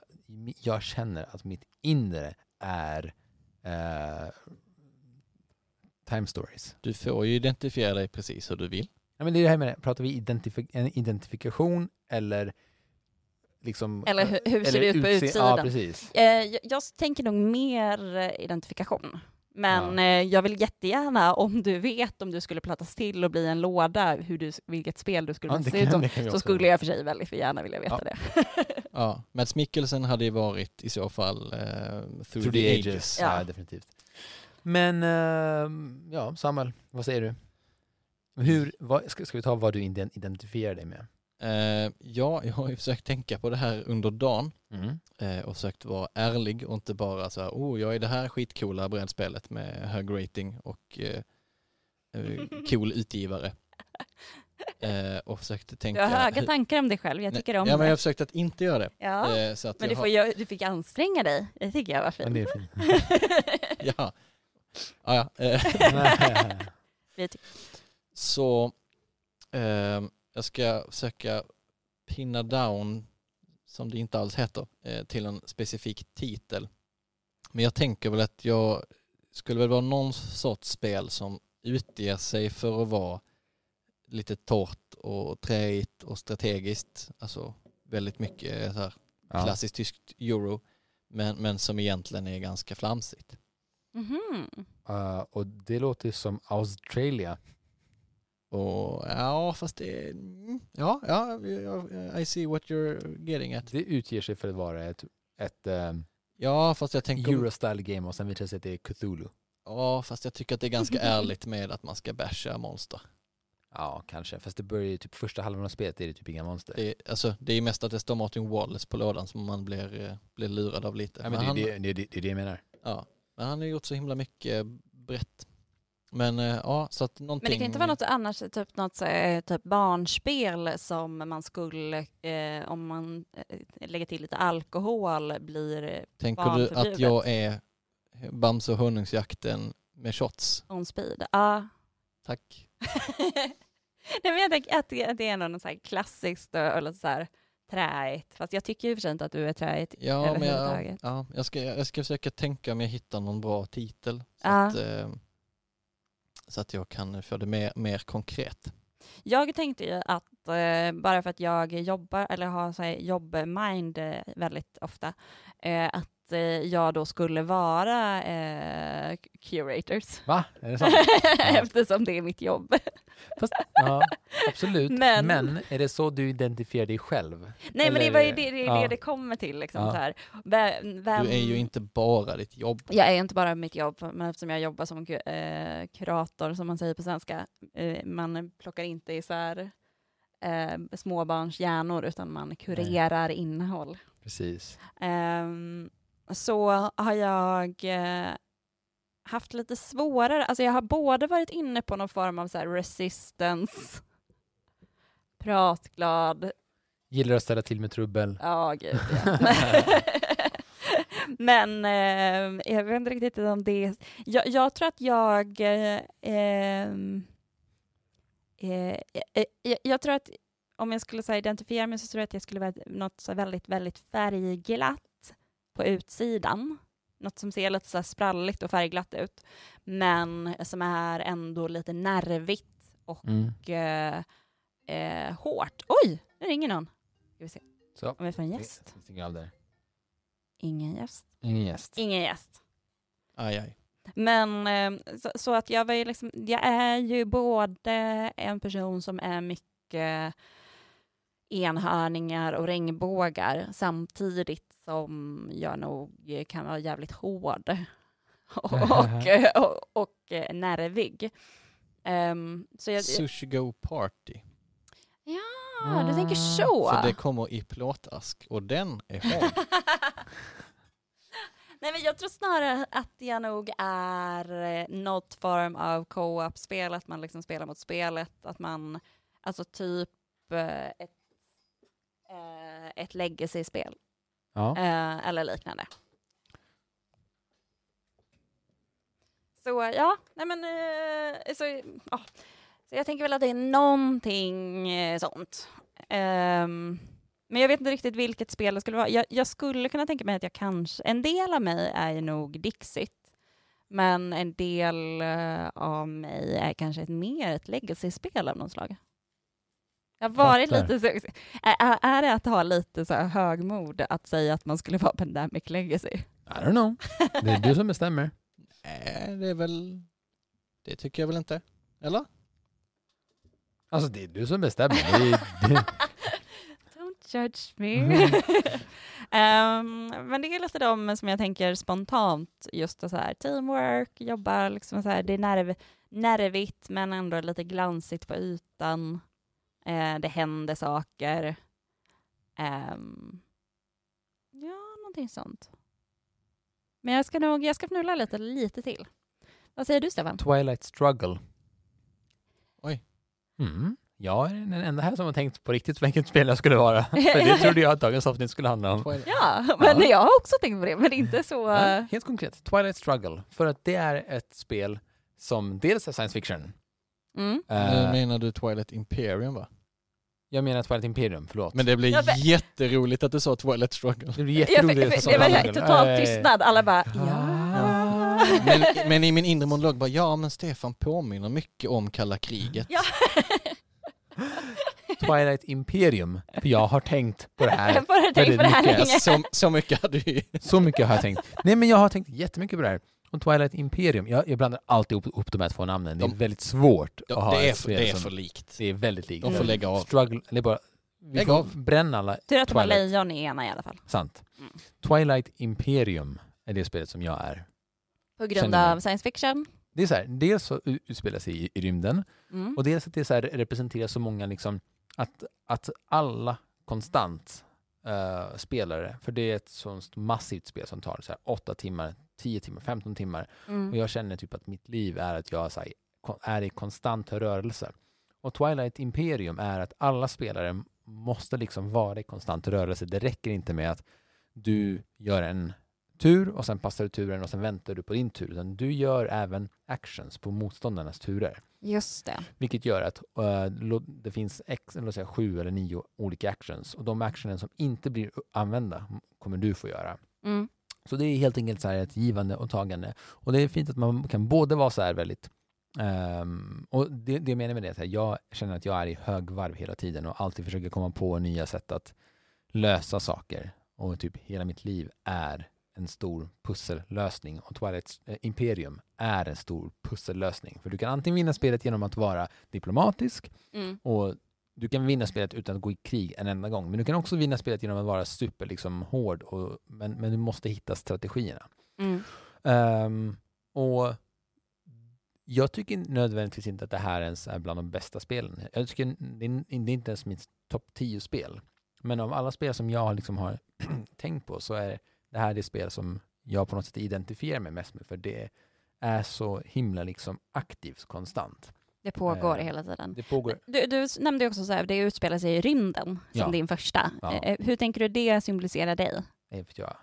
S3: jag känner att mitt inre är eh, time stories?
S4: Du får ju identifiera dig precis hur du vill.
S3: Ja, men det är det här med det. Pratar vi identifi- en identifikation eller liksom...
S1: Eller hur, hur ser
S3: eller
S1: det ut på
S3: utse-
S1: utsidan?
S3: Ja, precis.
S1: Eh, jag, jag tänker nog mer eh, identifikation. Men
S3: Ja.
S1: eh, jag vill jättegärna, om du vet om du skulle plattas till och bli en låda, hur du, vilket spel du skulle
S3: Ja, det
S1: se ut
S3: kan-
S1: som,
S3: det kan vi
S1: så
S3: också-
S1: skulle jag för sig väldigt gärna vilja veta det. [laughs]
S4: Ja, Mads Mikkelsen hade ju varit i så fall eh, through,
S3: Through the ages. Ja.
S1: Ja.
S3: definitivt. Men, ehm, ja, Samuel, vad säger du? Hur, vad, ska, ska vi ta vad du ident- identifierar dig med?
S4: Eh, ja, jag har ju försökt tänka på det här under dagen
S3: Mm.
S4: eh, och försökt vara ärlig och inte bara så här, oh, jag är det här skitcoola brädspelet med hög rating och eh, eh, cool
S1: [laughs]
S4: utgivare. Eh, och försökte
S1: Du
S4: tänka...
S1: har höga tankar om dig själv, jag tycker
S4: Nej,
S1: om
S4: ja,
S1: det.
S4: men jag försökte att inte göra det.
S1: ja.
S4: Eh, så att
S1: men
S4: jag
S1: du,
S4: har-
S1: får, gö- du fick anstränga dig, det tycker jag var
S3: Men
S1: fint.
S3: det är
S1: [laughs]
S3: fint.
S4: Ja. Ja, ja. Eh,
S1: Vi tycker-
S4: så ehm, jag ska försöka pinna down, som det inte alls heter, eh, till en specifik titel. Men jag tänker väl att jag skulle väl vara någon sorts spel som utger sig för att vara lite torrt och träigt och strategiskt. Alltså väldigt mycket så här
S3: [laughs] ja.
S4: klassiskt tyskt euro. Men, men som egentligen är ganska flamsigt.
S1: [laughs] Mhm.
S3: Eh, och det låter som Australia.
S4: Och ja, fast det... mm, Ja, ja, ja, I see what you're getting at.
S3: Det utger sig för att vara ett, ett ehm,
S4: Ja, fast jag tänker...
S3: Euro-style game och sen visar det sig att det är Cthulhu.
S4: Ja, fast jag tycker att det är
S3: [laughs]
S4: ganska ärligt med att man ska basha monster.
S3: Ja, kanske. Fast det börjar ju typ första halvan av spelet, det är det typ inga monster.
S4: Det är, alltså, det är mest att det står Martin Wallace på lådan som man blir, eh, blir lurad av lite.
S3: Ja, men
S4: han,
S3: det, är det, det, det är det jag menar.
S4: ja, men han har gjort så himla mycket brett. Men eh, ja, så att någonting...
S1: Men det kan inte vara något annars, typ något så, eh, typ barnspel som man skulle, eh, om man eh, lägger till lite alkohol, blir
S4: Tänker du att
S1: barnförbjudet.
S4: jag är Bamse och honungsjakten med shots?
S1: on speed. Ja.
S4: Tack.
S1: [laughs] Nej, men jag tänker att det, att det är någon så här klassiskt och, och lite så här träigt. Fast jag tycker ju för sig inte att du är träigt.
S4: Ja, men jag,
S1: Överhuvudtaget.
S4: ja, jag, ska, jag ska försöka tänka om jag hittar någon bra titel. Så,
S1: Ja.
S4: att, eh, så att jag kan få det mer, mer konkret.
S1: Jag tänkte ju att eh, bara för att jag jobbar eller har så här jobb-mind eh, väldigt ofta, eh, att eh, jag då skulle vara eh, curators.
S3: Va? Är
S1: [laughs]
S3: det sant?
S1: Eftersom det är mitt jobb.
S3: Fast, ja, absolut. Men.
S1: Men-
S3: är det så du identifierar dig själv?
S1: Nej men det
S3: Eller-
S1: var ju det det, är
S3: ja.
S1: det, det kommer till. Liksom,
S3: Ja.
S1: så här. Vem,
S4: Du
S1: vem...
S4: är ju inte bara ditt jobb.
S1: Jag är inte bara mitt jobb, men eftersom jag jobbar som ku- eh, kurator, som man säger på svenska, eh, man plockar inte isär eh, småbarns hjärnor, utan man kurerar innehåll.
S3: Precis.
S1: Ehm, så har jag eh, haft lite svårare, alltså jag har både varit inne på någon form av så här resistance, pratglad,
S3: Gillar att ställa till med trubbel.
S1: Ja, gud ja. [laughs] Men eh, jag vet inte riktigt om det... Jag, jag tror att jag... Eh, ehm, eh, eh, jag, jag tror att om jag skulle så här, identifiera mig så tror jag att jag skulle vara något så här väldigt, väldigt färgglatt på utsidan. Något som ser lite så här spralligt och färgglatt ut, men som är ändå lite nervigt
S3: Mm.
S1: och eh, eh, hårt. Oj, nu ringer någon. Ska vi se
S3: Så.
S1: om vi får en gäst.
S3: Vi stänger av där.
S1: Ingen gäst.
S3: Ingen gäst.
S1: Ingen gäst.
S4: Aj, aj.
S1: Men eh, så, så att jag var ju liksom, jag är ju både en person som är mycket enhörningar och regnbågar samtidigt som jag nog kan vara jävligt hård [laughs] och, eh, och, och eh, nervig. Ehm, så jag,
S4: Sushi Go Party.
S1: ah, du tänker så.
S4: Så det kommer i plåtask och den är
S1: [laughs]
S4: hård.
S1: Nej men jag tror snarare att jag nog är eh, något form av co-op-spel, att man liksom spelar mot spelet, att man, alltså typ eh, ett, eh, ett legacy-spel
S3: Ja.
S1: eh, eller liknande. Så ja, nej men eh, så, ja. så jag tänker väl att det är någonting eh, sånt. Ehm, men jag vet inte riktigt vilket spel det skulle vara. Jag, jag skulle kunna tänka mig att jag kanske, en del av mig är ju nog Dixit, men en del eh, av mig är kanske ett, mer ett legacy-spel av något slag. Jag har varit
S3: Fattar.
S1: lite så, är, är- är det att ha lite så här högmod att säga att man skulle vara Pandemic Legacy?
S3: I don't know. Det är du som bestämmer.
S4: Nej, det är väl... Det tycker jag väl inte. Eller?
S3: Alltså det är du som bestämmer. Det är, det,
S1: [laughs]
S3: Mm.
S1: Don't judge [laughs] me. Ehm, men det är lite de som jag tänker spontant, just så här teamwork, jobbar liksom så här, det är nerv, nervigt men ändå lite glansigt på ytan. Eh, det händer saker. Ehm, ja, någonting sånt. Men jag ska nog, jag ska fnula lite, lite till. Vad säger du Stefan?
S3: Twilight struggle.
S4: Oj.
S3: Mm. Jag är den enda här som har tänkt på riktigt vilket spel jag skulle vara. För det trodde jag att dagens avsnitt skulle handla om.
S4: Twilight.
S1: Ja, [laughs] men jag har också tänkt på det, men inte så...
S3: Ja, helt konkret, Twilight struggle. För att det är ett spel som dels är science fiction.
S1: Mm.
S3: Eh,
S4: Nu menar du Twilight Imperium va?
S3: jag menar Twilight Imperium, förlåt.
S4: Men det blir
S1: Ja, för-
S4: jätteroligt att du sa Twilight Struggle.
S3: det blir
S1: Jag fick,
S3: jätteroligt.
S1: fick,
S3: att
S1: det
S3: prata
S1: var
S3: om Eh,
S1: helt total tystnad, alla bara
S3: Ah.
S1: ja.
S4: Men, men i min inre monolog bara, ja men Stefan påminner mycket om kalla kriget.
S3: [laughs]
S1: Ja.
S3: Twilight Imperium. För jag har tänkt på det
S1: [laughs]
S3: här.
S1: Jag bara tänkt på det här
S3: väldigt
S1: länge.
S3: mycket.
S4: Så, så mycket hade vi.
S3: [laughs] Så mycket har jag tänkt. Nej men jag har tänkt jättemycket på det här. Och Twilight Imperium, jag, jag blandar alltid upp, upp de här två namnen. Det är
S4: De-
S3: väldigt svårt att ha
S4: Det är
S3: ett
S4: för,
S3: spel
S4: det är
S3: som-
S4: för likt. liksom.
S3: det är väldigt likt.
S4: De får lägga av.
S3: Struggle, det är bara, vi
S4: Lägg
S3: får
S4: av.
S3: bränna alla,
S1: Tur att de har
S3: Twilight.
S1: lejon i ena i alla fall.
S3: sant.
S1: Mm.
S3: Twilight Imperium är det spelet som jag är.
S1: På grund
S3: Känner mig.
S1: av science fiction.
S3: Det är så här, dels så u- utspelar sig i, i rymden
S1: Mm.
S3: och dels att det så här representerar så många, liksom, att, att alla konstant eh, spelare, för det är ett sånt massivt spel som tar så här, 8 timmar, 10 timmar, 15 timmar
S1: Mm.
S3: Och jag känner typ att mitt liv är att jag så här, kon- är i konstant rörelse. Och Twilight Imperium är att alla spelare måste liksom vara i konstant rörelse. Det räcker inte med att du gör en tur och sen passar du turen och sen väntar du på din tur. Utan du gör även actions på motståndarnas turer.
S1: Just det.
S3: Vilket gör att eh, lå- det finns ex, låt säga, sju eller nio olika actions. Och de actionen som inte blir använda kommer du få göra.
S1: Mm.
S3: Så det är helt enkelt så här ett givande och tagande. Och det är fint att man kan både vara så här väldigt ehm, och det, det jag menar med det är att jag känner att jag är i högvarv hela tiden och alltid försöker komma på nya sätt att lösa saker. Och typ hela mitt liv är en stor pussellösning och Twilight eh, Imperium är en stor pussellösning. För du kan antingen vinna spelet genom att vara diplomatisk
S1: Mm.
S3: och du kan vinna spelet utan att gå i krig en enda gång. Men du kan också vinna spelet genom att vara super liksom, hård, och, men, men du måste hitta strategierna.
S1: Mm.
S3: Ehm, och jag tycker nödvändigtvis inte att det här ens är bland de bästa spelen. Jag tycker det är, det är inte ens mitt topp 10-spel. Men av alla spel som jag liksom har [clears throat] tänkt på så är det här det spel som jag på något sätt identifierar mig mest med för det är så himla liksom aktivt konstant.
S1: Det pågår
S3: Eh,
S1: hela tiden.
S3: Det pågår...
S1: Du, du nämnde ju också så här, det utspelar sig i rymden som
S3: Ja.
S1: din första.
S3: Ja.
S1: Eh, Hur tänker du det symboliserar dig?
S3: Nej, för jag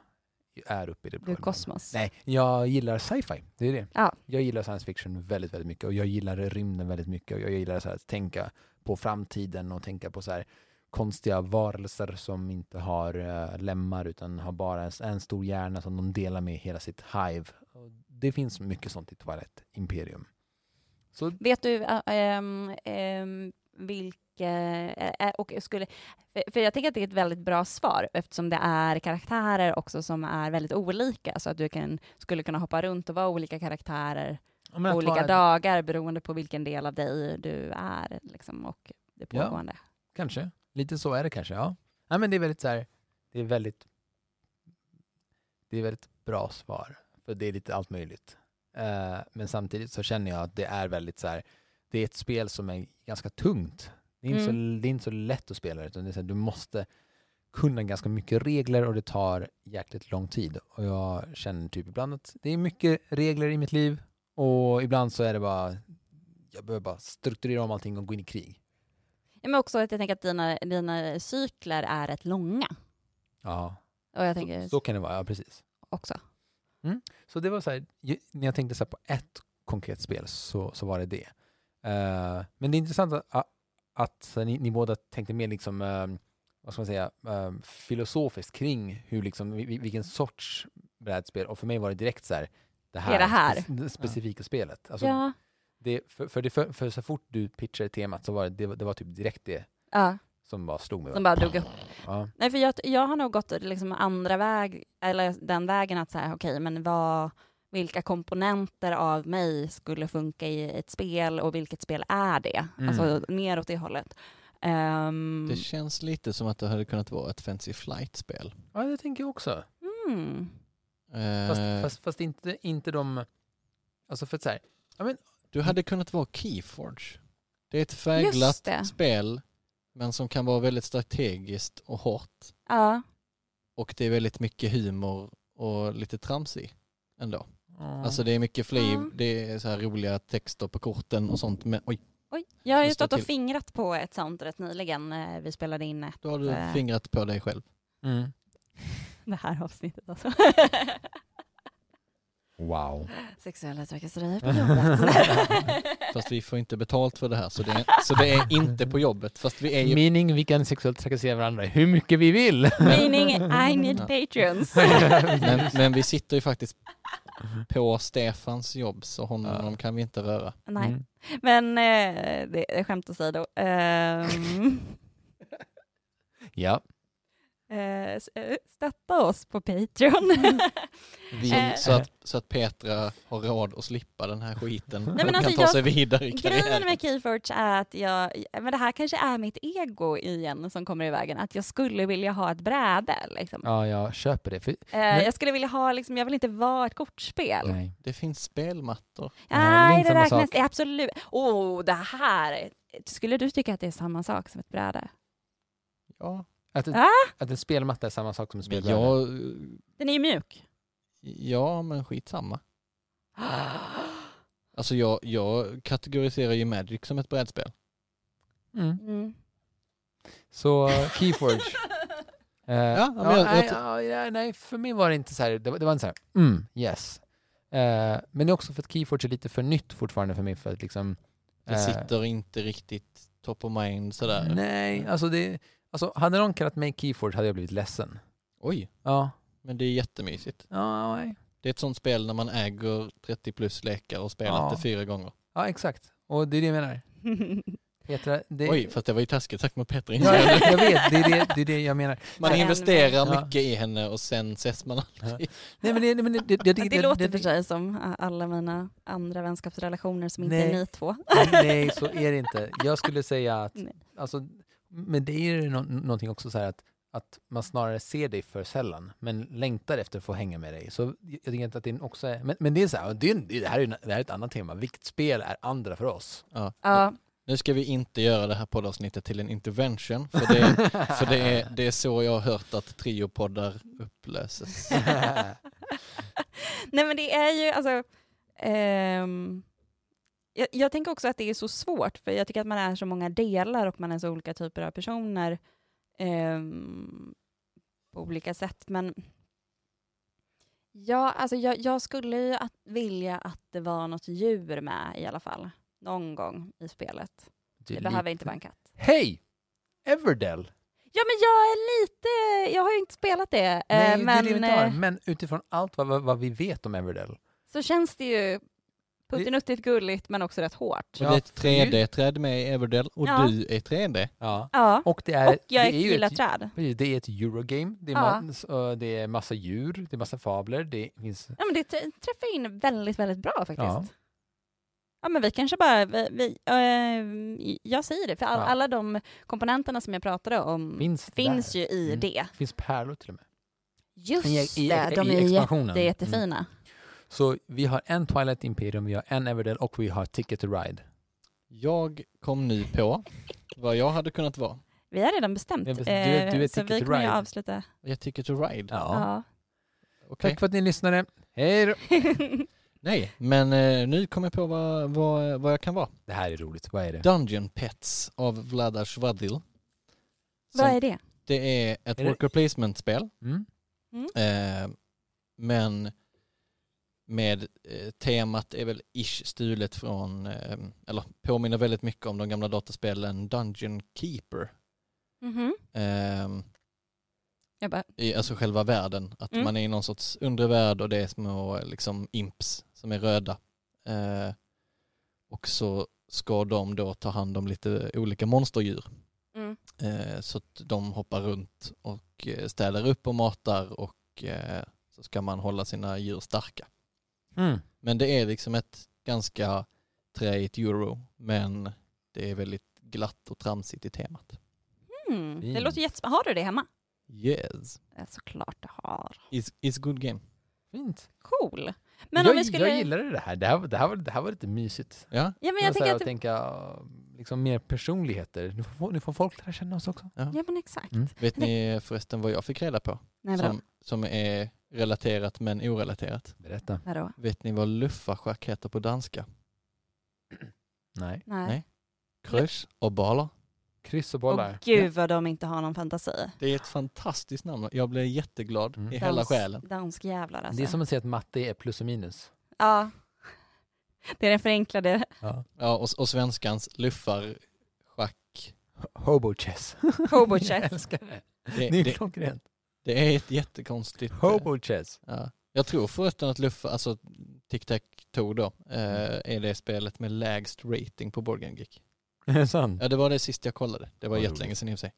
S3: är uppe i det
S1: Du är
S3: blå.
S1: kosmos.
S3: Nej, jag gillar sci-fi. Det är det.
S1: Ja.
S3: Jag gillar science fiction väldigt, väldigt mycket och jag gillar rymden väldigt mycket och jag gillar så här att tänka på framtiden och tänka på så här konstiga varelser som inte har eh, lemmar utan har bara en, en stor hjärna som de delar med hela sitt hive. Och det finns mycket sånt i Twilight Imperium. Så
S1: Vet du ä- ehm, ehm, vilka... ä- ä- och skulle, för- för jag tänker att det är ett väldigt bra svar eftersom det är karaktärer också som är väldigt olika så att du kan, skulle kunna hoppa runt och vara olika karaktärer
S3: Ja, men att
S1: olika
S3: vara-
S1: dagar beroende på vilken del av dig du är liksom, och det
S3: Ja.
S1: pågående.
S3: Kanske. Lite så är det kanske, ja. Nej, men det är väldigt så här, det är väldigt, det är väldigt bra svar. För det är lite allt möjligt. Eh, men samtidigt så känner jag att det är väldigt så här, det är ett spel som är ganska tungt. Det är inte, så, det är inte så lätt att spela det, utan det är så här, du måste kunna ganska mycket regler och det tar jäkligt lång tid. Och jag känner typ ibland att det är mycket regler i mitt liv och ibland så är det bara, jag behöver bara strukturera om allting och gå in i krig.
S1: Ja, Men också att jag tänker att dina, dina cykler är rätt långa.
S3: Ja,
S1: Och jag
S3: så,
S1: tänker
S3: så kan det vara, ja precis.
S1: också.
S3: Så det var så här, ju- när jag tänkte så här på ett konkret spel så, så var det det. Eh, men det är intressant att, att, ni, ni båda tänkte mer liksom, eh, vad ska man säga, eh, filosofiskt kring hur liksom, vi- vi- vilken sorts brädspel, och för mig var det direkt så här, det här,
S1: Är det här?
S3: spe- det specifika spelet. Alltså,
S1: ja.
S3: det, för, för, det, för, för så fort du pitchade temat så var det, det, var- det var typ direkt det
S1: ja,
S3: som bara slog mig.
S1: som bara drog upp.
S3: Ja.
S1: Nej, för jag, jag har nog gått liksom andra väg, eller den vägen att så här, okej, men vad, vilka komponenter av mig skulle funka i ett spel och vilket spel är det?
S3: Mm.
S1: Alltså mer åt det hållet. Ehm,
S4: Det känns lite som att det hade kunnat vara ett Fancy Flight-spel.
S3: ja, det tänker jag också.
S1: mm.
S4: Eh,
S3: Fast, fast, fast inte, inte de... Alltså för att så här,
S4: Du hade kunnat vara Keyforge. Det är ett färgglatt
S1: det.
S4: spel men som kan vara väldigt strategiskt och hårt.
S1: Ja,
S4: Och det är väldigt mycket humor och lite tramsig ändå.
S3: ja.
S4: Alltså det är mycket fliv,
S1: Ja.
S4: det är så här roliga texter på korten och sånt. Men oj,
S1: Oj, jag har ju
S4: Just det,
S1: stått och
S4: till-
S1: fingrat på ett sånt rätt nyligen. eh, Vi spelade in ett,
S4: då har du
S1: Eh.
S4: fingrat på dig själv.
S3: Mm.
S1: [laughs] det här avsnittet alltså.
S4: [laughs]
S3: Wow.
S1: Sexuella
S4: [laughs]
S1: trakasserier på jobbet.
S4: Fast vi får inte betalt för det här så det är, så det är inte på jobbet. Fast vi är ju...
S3: Meaning vi kan sexuellt trakassera varandra hur mycket vi vill.
S1: [laughs] Meaning I
S4: [laughs]
S1: need patrons. [laughs]
S4: Men, men vi sitter ju faktiskt på Stefans jobb så honom kan vi inte röra.
S1: Nej,
S3: [laughs] Mm.
S1: men eh, det är skämt åsido. Ehm, [laughs]
S3: Ja.
S1: eh, s- eh, stötta oss på
S3: Mm.
S1: [laughs] Patreon.
S4: Vi,
S1: Eh.
S4: så, att, så att Petra har råd att slippa den här skiten och
S1: men
S4: kan
S1: alltså
S4: ta
S1: jag-
S4: sig vidare i
S1: Grejen
S4: karriären.
S1: med Keyforge är att jag, men det här kanske är mitt ego igen som kommer i vägen, att jag skulle vilja ha ett bräde. Liksom.
S3: ja, jag köper det. För,
S1: Eh, jag skulle vilja ha, liksom, jag vill inte vara ett kortspel.
S3: nej.
S4: Det finns spelmattor.
S3: Nej, det är
S1: Nej,
S3: inte
S1: det
S3: samma
S1: räknas
S3: sak.
S1: det är absolut. Oh, det här. Skulle du tycka att det är samma sak som ett bräde?
S4: Ja.
S3: Att, ett,
S1: Ah!
S3: att en spelmatta är samma sak som en spelbräda.
S4: Jag,
S1: Den är
S3: [gasps]
S1: ju mjuk. [gasps]
S4: ja, men skitsamma. Alltså jag, jag kategoriserar ju Magic som ett brädspel.
S3: Mm.
S1: Mm.
S3: Så
S1: [laughs]
S4: [laughs]
S3: Keyforge. Eh,
S4: Ja, men
S3: ja,
S4: jag-
S3: nej,
S4: jag
S3: ja, ja, nej, för mig var det inte så här, det var, det var inte så här, mm, yes. Eh, men det är också för att Keyforge är lite för nytt fortfarande för mig för att liksom...
S4: Det
S3: eh,
S4: sitter inte riktigt top of mind sådär.
S3: Nej, alltså det... Alltså hade någon kallat mig Keyforge hade jag blivit ledsen.
S4: Oj,
S3: Ja.
S4: men det är jättemysigt.
S3: Ja, nej.
S4: Det är ett sånt spel när man äger 30 plus lekar och spelat
S3: Ja.
S4: det fyra gånger.
S3: ja exakt. Och det är det jag menar. Petra, det...
S4: Oj, fast det var ju taskigt sagt mot Petra.
S3: Ja, jag, jag vet, det är det, det är det jag menar.
S4: Man
S1: Ja.
S4: investerar
S3: Ja.
S4: mycket i henne och sen ses man aldrig.
S3: Nej, men det, nej, men det, det, det,
S1: det, låter för sig som ä, alla mina andra vänskapsrelationer som inte
S3: Nej.
S1: är ni två.
S3: [laughs] Nej, så är det inte. Jag skulle säga att,
S1: Nej.
S3: alltså, men det är ju nå- någonting också så här att, att man snarare ser dig för sällan, men längtar efter att få hänga med dig. Så jag tänker inte att det också är, men, men det är så här, det, är, det, här är, ju- det här är ett annat tema. Viktspel är andra för oss.
S4: Ja.
S1: Ja,
S4: Nu ska vi inte göra det här poddavsnittet till en intervention, för [laughs] det
S3: [laughs]
S4: är, för det är, det är så jag har hört att triopoddar
S3: [laughs]
S4: upplöses.
S1: nej men det är ju alltså. ehm, jag, jag tänker också att det är så svårt för jag tycker att man är så många delar och man är så olika typer av personer ehm, på olika sätt. Men ja, alltså jag, jag skulle ju att vilja att det var något djur med i alla fall. Någon gång i spelet. Det behöver inte vara Eh, en katt.
S3: Hej! Everdell!
S1: Ja men jag är lite, jag har ju inte spelat det. eh,
S3: Nej,
S1: men
S3: det är det vi inte har.
S1: eh,
S3: Men utifrån allt vad, vad, vad vi vet om Everdell.
S1: så känns det ju puttinuttigt gulligt men också rätt hårt.
S4: Och det är ett 3D-träd med i Everdell och
S1: Ja.
S4: du är 3D.
S3: Ja.
S1: Ja,
S3: Och Äh, det är,
S1: och jag
S3: det är ju
S1: gillar
S3: ett,
S1: träd.
S3: precis, det är ett Eurogame, det är,
S1: Ja.
S3: mans- och det är massa djur, det är massa fabler, det finns...
S1: Ja, men det trä- träffar in väldigt, väldigt bra faktiskt.
S3: Ja.
S1: Ja. men vi kanske bara, vi, vi, eh, jag säger det, för all,
S3: Ja.
S1: alla de komponenterna som jag pratade om finns,
S3: Finns, där.
S1: ju i
S3: Mm.
S1: det.
S3: Det finns pärlor till och med.
S1: Just
S3: I- i- i-
S1: det, de
S3: i
S1: är
S3: expansionen. Mm.
S1: jätte, jättefina.
S3: Så vi har en Twilight Imperium, vi har en Everdell och vi har Ticket to Ride.
S4: Jag kom nu på vad jag hade kunnat vara.
S1: Vi har redan bestämt.
S3: Vi har bestämt.
S1: eh,
S3: Du är- du är
S1: så
S3: Ticket
S1: vi
S3: to
S1: kommer ju
S3: Ride.
S1: avsluta.
S4: Jag tycker to ride.
S3: Ja. [laughs]
S1: Ja. [laughs]
S4: Okej.
S3: Tack för att ni lyssnade. Hej då!
S4: Nej, men eh, nu kommer jag på vad, vad, vad jag kan vara.
S3: Det här är roligt. Vad är det?
S4: Dungeon Pets av Vladar Svadil.
S1: Vad är det?
S4: Det är ett
S3: Är det-
S4: worker placement-spel,
S3: Mm.
S4: eh, men med eh, temat är väl ish stulet från, eh, eller påminner väldigt mycket om de gamla dataspelen Dungeon Keeper.
S1: Mhm.
S4: Eh,
S6: Jag bara,
S4: i, alltså själva världen. Att
S1: Mm.
S4: man är i någon sorts undre värld och det är små liksom, imps som är röda. Eh, och så ska de då ta hand om lite olika monsterdjur.
S1: Mm.
S4: Eh, så att de hoppar runt och eh, städar upp och matar och eh, så ska man hålla sina djur starka.
S3: Mm.
S4: Men det är liksom ett ganska träigt euro men det är väldigt glatt och tramsigt i temat.
S1: Mm. Det
S3: Fint.
S1: låter jättespännande. Har du det hemma?
S4: Yes,
S1: Ja, såklart du har.
S4: it's, it's good game.
S3: Fint.
S1: Cool. Men
S3: jag,
S1: om vi skulle...
S3: jag gillade det här. Det här, det här, var, det här var lite mysigt.
S4: Ja,
S1: ja, men
S3: Det var
S1: jag
S3: så här
S1: tänker
S3: att
S1: att...
S3: tänka liksom, mer personligheter. Nu får, nu får folk lära känna oss också.
S1: Ja, men exakt.
S3: Mm.
S4: Vet ni förresten vad jag fick reda på?
S1: Nej, vadå?
S4: Som, som är relaterat men orelaterat.
S3: Berätta.
S1: vadå?
S4: Vet ni vad luffarschack heter på danska?
S3: Nej.
S1: Nej.
S4: Nej. Kryss och baler.
S3: Kryss och
S1: Och
S3: bollar.
S1: gud vad de inte har någon fantasi.
S4: Det är ett fantastiskt namn. Jag blev jätteglad
S3: Mm.
S4: i hela
S1: Dans-
S4: själen.
S1: Danskjävlar alltså.
S3: Det är som att säga att matte är plus och minus.
S1: Ja. Det är
S4: [laughs]
S1: den förenklade.
S3: Ja.
S4: Ja, och, och svenskans luffarschack.
S3: Hobo chess. [laughs]
S1: Hobo
S3: Jag
S1: chess.
S3: älskar det.
S1: [laughs]
S4: Det,
S3: Det är
S4: det,
S3: klockrent.
S4: det är ett jättekonstigt... eh,
S3: Hobo chess.
S4: Ja. Jag tror förresten att luffa, alltså tic tac toe då, eh, är det spelet med lägst rating på Board Game Geek.
S3: Är det sant?
S4: Ja, det var det sist jag kollade. Det var
S3: Vad
S4: jättelänge
S3: roligt.
S4: sedan i och för sig.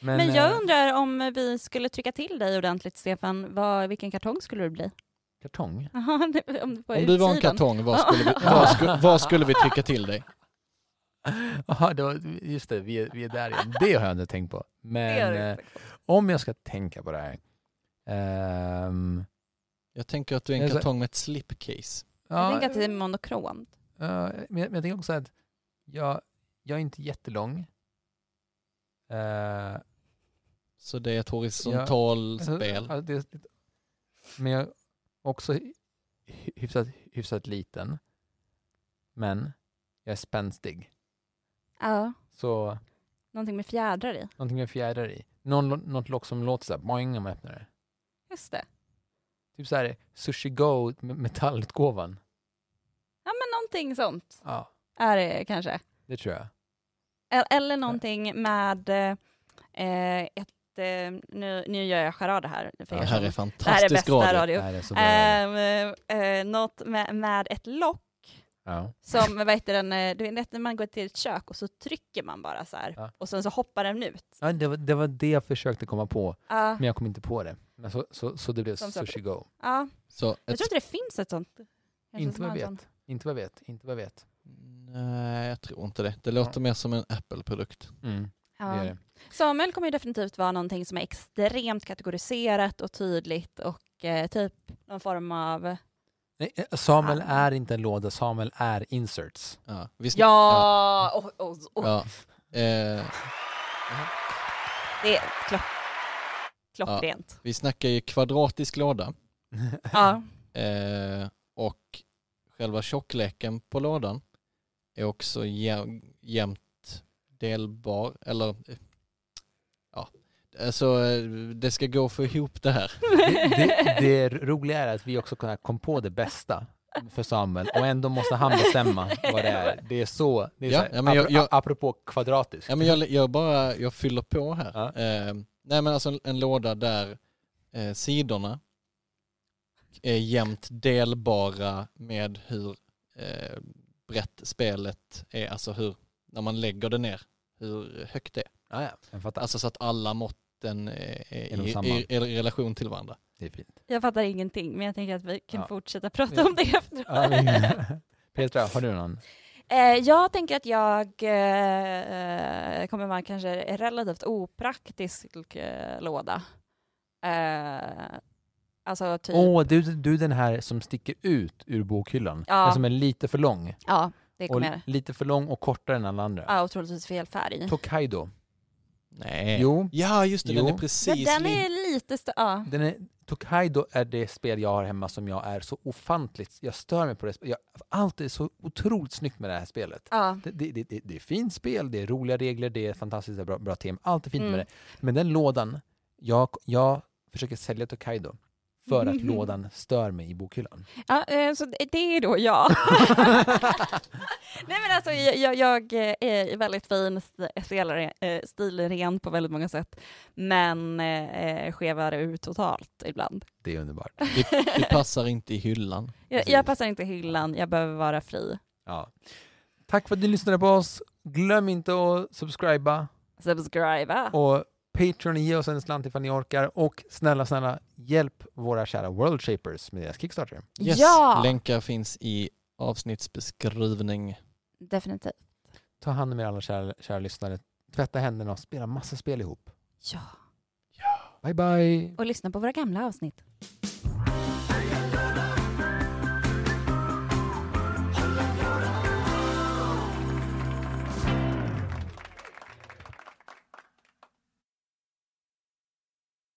S1: Men
S3: eh,
S1: jag undrar om vi skulle trycka till dig ordentligt Stefan. Vad, vilken kartong skulle du bli? [laughs]
S3: Kartong.
S1: Jaha, det- om, på
S4: Om du var en
S1: utsidan.
S4: kartong, vad skulle
S1: [laughs]
S4: vi, vad skulle, vad skulle vi trycka till dig?
S3: Aha, det var, just det, vi är, vi är där igen. Det har jag inte tänkt på.
S1: Det gör
S3: Men
S1: du
S3: eh,
S1: inte.
S3: om jag ska tänka på det här. ehm,
S4: Jag tänker att du är en
S3: Jag sa-
S4: kartong med ett slipcase.
S1: Jag
S3: ja,
S1: tänker att det är monokromt.
S3: Ja, men, jag- men jag tänker också att jag, jag är inte jättelång. Eh,
S4: Så det är ett horisontalspel.
S3: ja, det är lite- men jag är också hy- hyfsat, hyfsat liten. Men jag är spänstig.
S1: Ja,
S3: Så
S1: någonting med fjädrar i.
S3: någonting med fjädrar i. Någon, lo- något lock som låter så här boing om man öppnar det.
S1: Just det.
S3: Typ så här Sushi Go med- metallutgåvan.
S1: Ja, men någonting sånt
S3: Ja,
S1: är det kanske.
S3: det tror jag.
S1: El- Eller någonting med eh, eh, ett... Eh, nu, nu gör jag charader här. För
S4: Det här
S1: er som-
S4: är
S1: det här är
S4: fantastisk
S1: bästa
S4: radio.
S1: radio.
S3: Nej, det är så bra.
S1: Eh, eh, något med, med ett lock
S3: ja.
S1: som, vad heter den, eh, du vet när man går till ett kök och så trycker man bara så här
S3: Ja.
S1: och sen så hoppar den ut.
S3: Ja, det, var, det var det jag försökte komma på,
S1: Ja,
S3: men jag kom inte på det. Men så, så, så det blev
S1: Som sagt.
S3: Sushi Go.
S1: ja.
S4: Så
S1: Jag
S4: ett,
S1: tror inte det finns ett sånt. Kanske
S3: Inte
S1: som
S3: vad
S1: har en
S3: jag
S1: sån.
S3: vet. Inte vad jag vet. Inte vad jag vet.
S4: nej, jag tror inte det. Det låter mer som en Apple-produkt.
S3: Mm, det
S1: Ja.
S3: är det.
S1: Samuel kommer ju definitivt vara någonting som är extremt kategoriserat och tydligt och eh, typ någon form av...
S3: Nej, eh, Samuel
S1: Ja.
S3: är inte en låda, Samuel är inserts.
S4: Ja, visst,
S1: Ja! Och, och, och,
S4: ja. Eh,
S1: Det är klock, klockrent.
S4: vi snackar ju kvadratisk låda
S1: Ja.
S4: eh, och själva tjockleken på lådan är också jä- jämnt delbar. Eller, eh, ja. Alltså, eh, det ska gå för ihop det här.
S3: Det, det, det roliga är att vi också kan- kom på det bästa för Samuel och ändå måste han bestämma vad det är. Det är så, det är
S4: Ja,
S3: så här,
S4: ja, men jag-
S3: apro-
S4: jag-
S3: apropå kvadratiskt.
S4: Ja, men jag, jag bara jag fyller på här.
S3: Ja.
S4: Eh, nej men alltså en, en låda där eh, sidorna är jämnt delbara med hur eh, brett spelet är, alltså hur, när man lägger det ner, hur högt det är.
S3: Ja, ja, jag fattar.
S4: Alltså så att alla måtten eh,
S3: Är
S4: är
S3: de
S4: i,
S3: samma?
S4: i, i relation till varandra.
S3: det är fint.
S1: [laughs]
S3: [laughs]
S1: Jag fattar ingenting, men jag tänker att vi kan
S3: Ja.
S1: fortsätta prata om det efteråt.
S3: Ja, men- Petra, har du någon?
S1: [laughs] Eh, jag tänker att jag eh, kommer vara kanske en relativt opraktisk eh, låda. Eh, Alltså typ,
S3: Åh, du, du är den här som sticker ut ur bokhyllan.
S1: Ja.
S3: Den som är lite för lång.
S1: ja, det
S3: Och
S1: kommer.
S3: lite för lång och kortare än alla andra.
S1: Ja, och troligtvis fel färg.
S3: Tokaido.
S4: Nej.
S3: Jo,
S4: Ja, just det, den
S3: Jo.
S4: är
S1: Men
S4: precis
S1: den
S4: li-
S1: är lite stö- ja.
S3: den är, Tokaido är det spel jag har hemma som jag är så ofantligt, jag stör mig på det. sp- Jag, allt är så otroligt snyggt med det här spelet.
S1: ja.
S3: Det, det, det, det, det är fint spel, det är roliga regler, det är fantastiskt bra, bra tema, allt är fint
S1: Mm.
S3: med det. Men den lådan, jag, jag försöker sälja Tokaido för att lådan stör mig i bokhyllan.
S1: Ja, eh, så det det är
S3: [laughs]
S1: då jag. [laughs] Nej men alltså jag, jag- jag eh, är väldigt fin, st- stelare- eh, stilren på väldigt många sätt, men eh, skevar ur totalt ibland.
S3: Det är underbart.
S4: du, du passar inte i hyllan.
S1: [laughs] Jag, jag passar inte hyllan, jag behöver vara fri.
S3: Ja. Tack för att ni lyssnade på oss. Glöm inte att subscriba
S1: Subscriba.
S3: och Patreon ge oss en slant ifall ni orkar. Och snälla, snälla, hjälp våra kära World Shapers med deras Kickstarter.
S4: Yes,
S1: Ja!
S4: länkar finns i avsnittsbeskrivning.
S1: Definitivt.
S3: Ta hand om er alla kära, kära lyssnare. Tvätta händerna och spela massa spel ihop.
S1: Ja.
S3: Bye bye!
S1: Och lyssna på våra gamla avsnitt.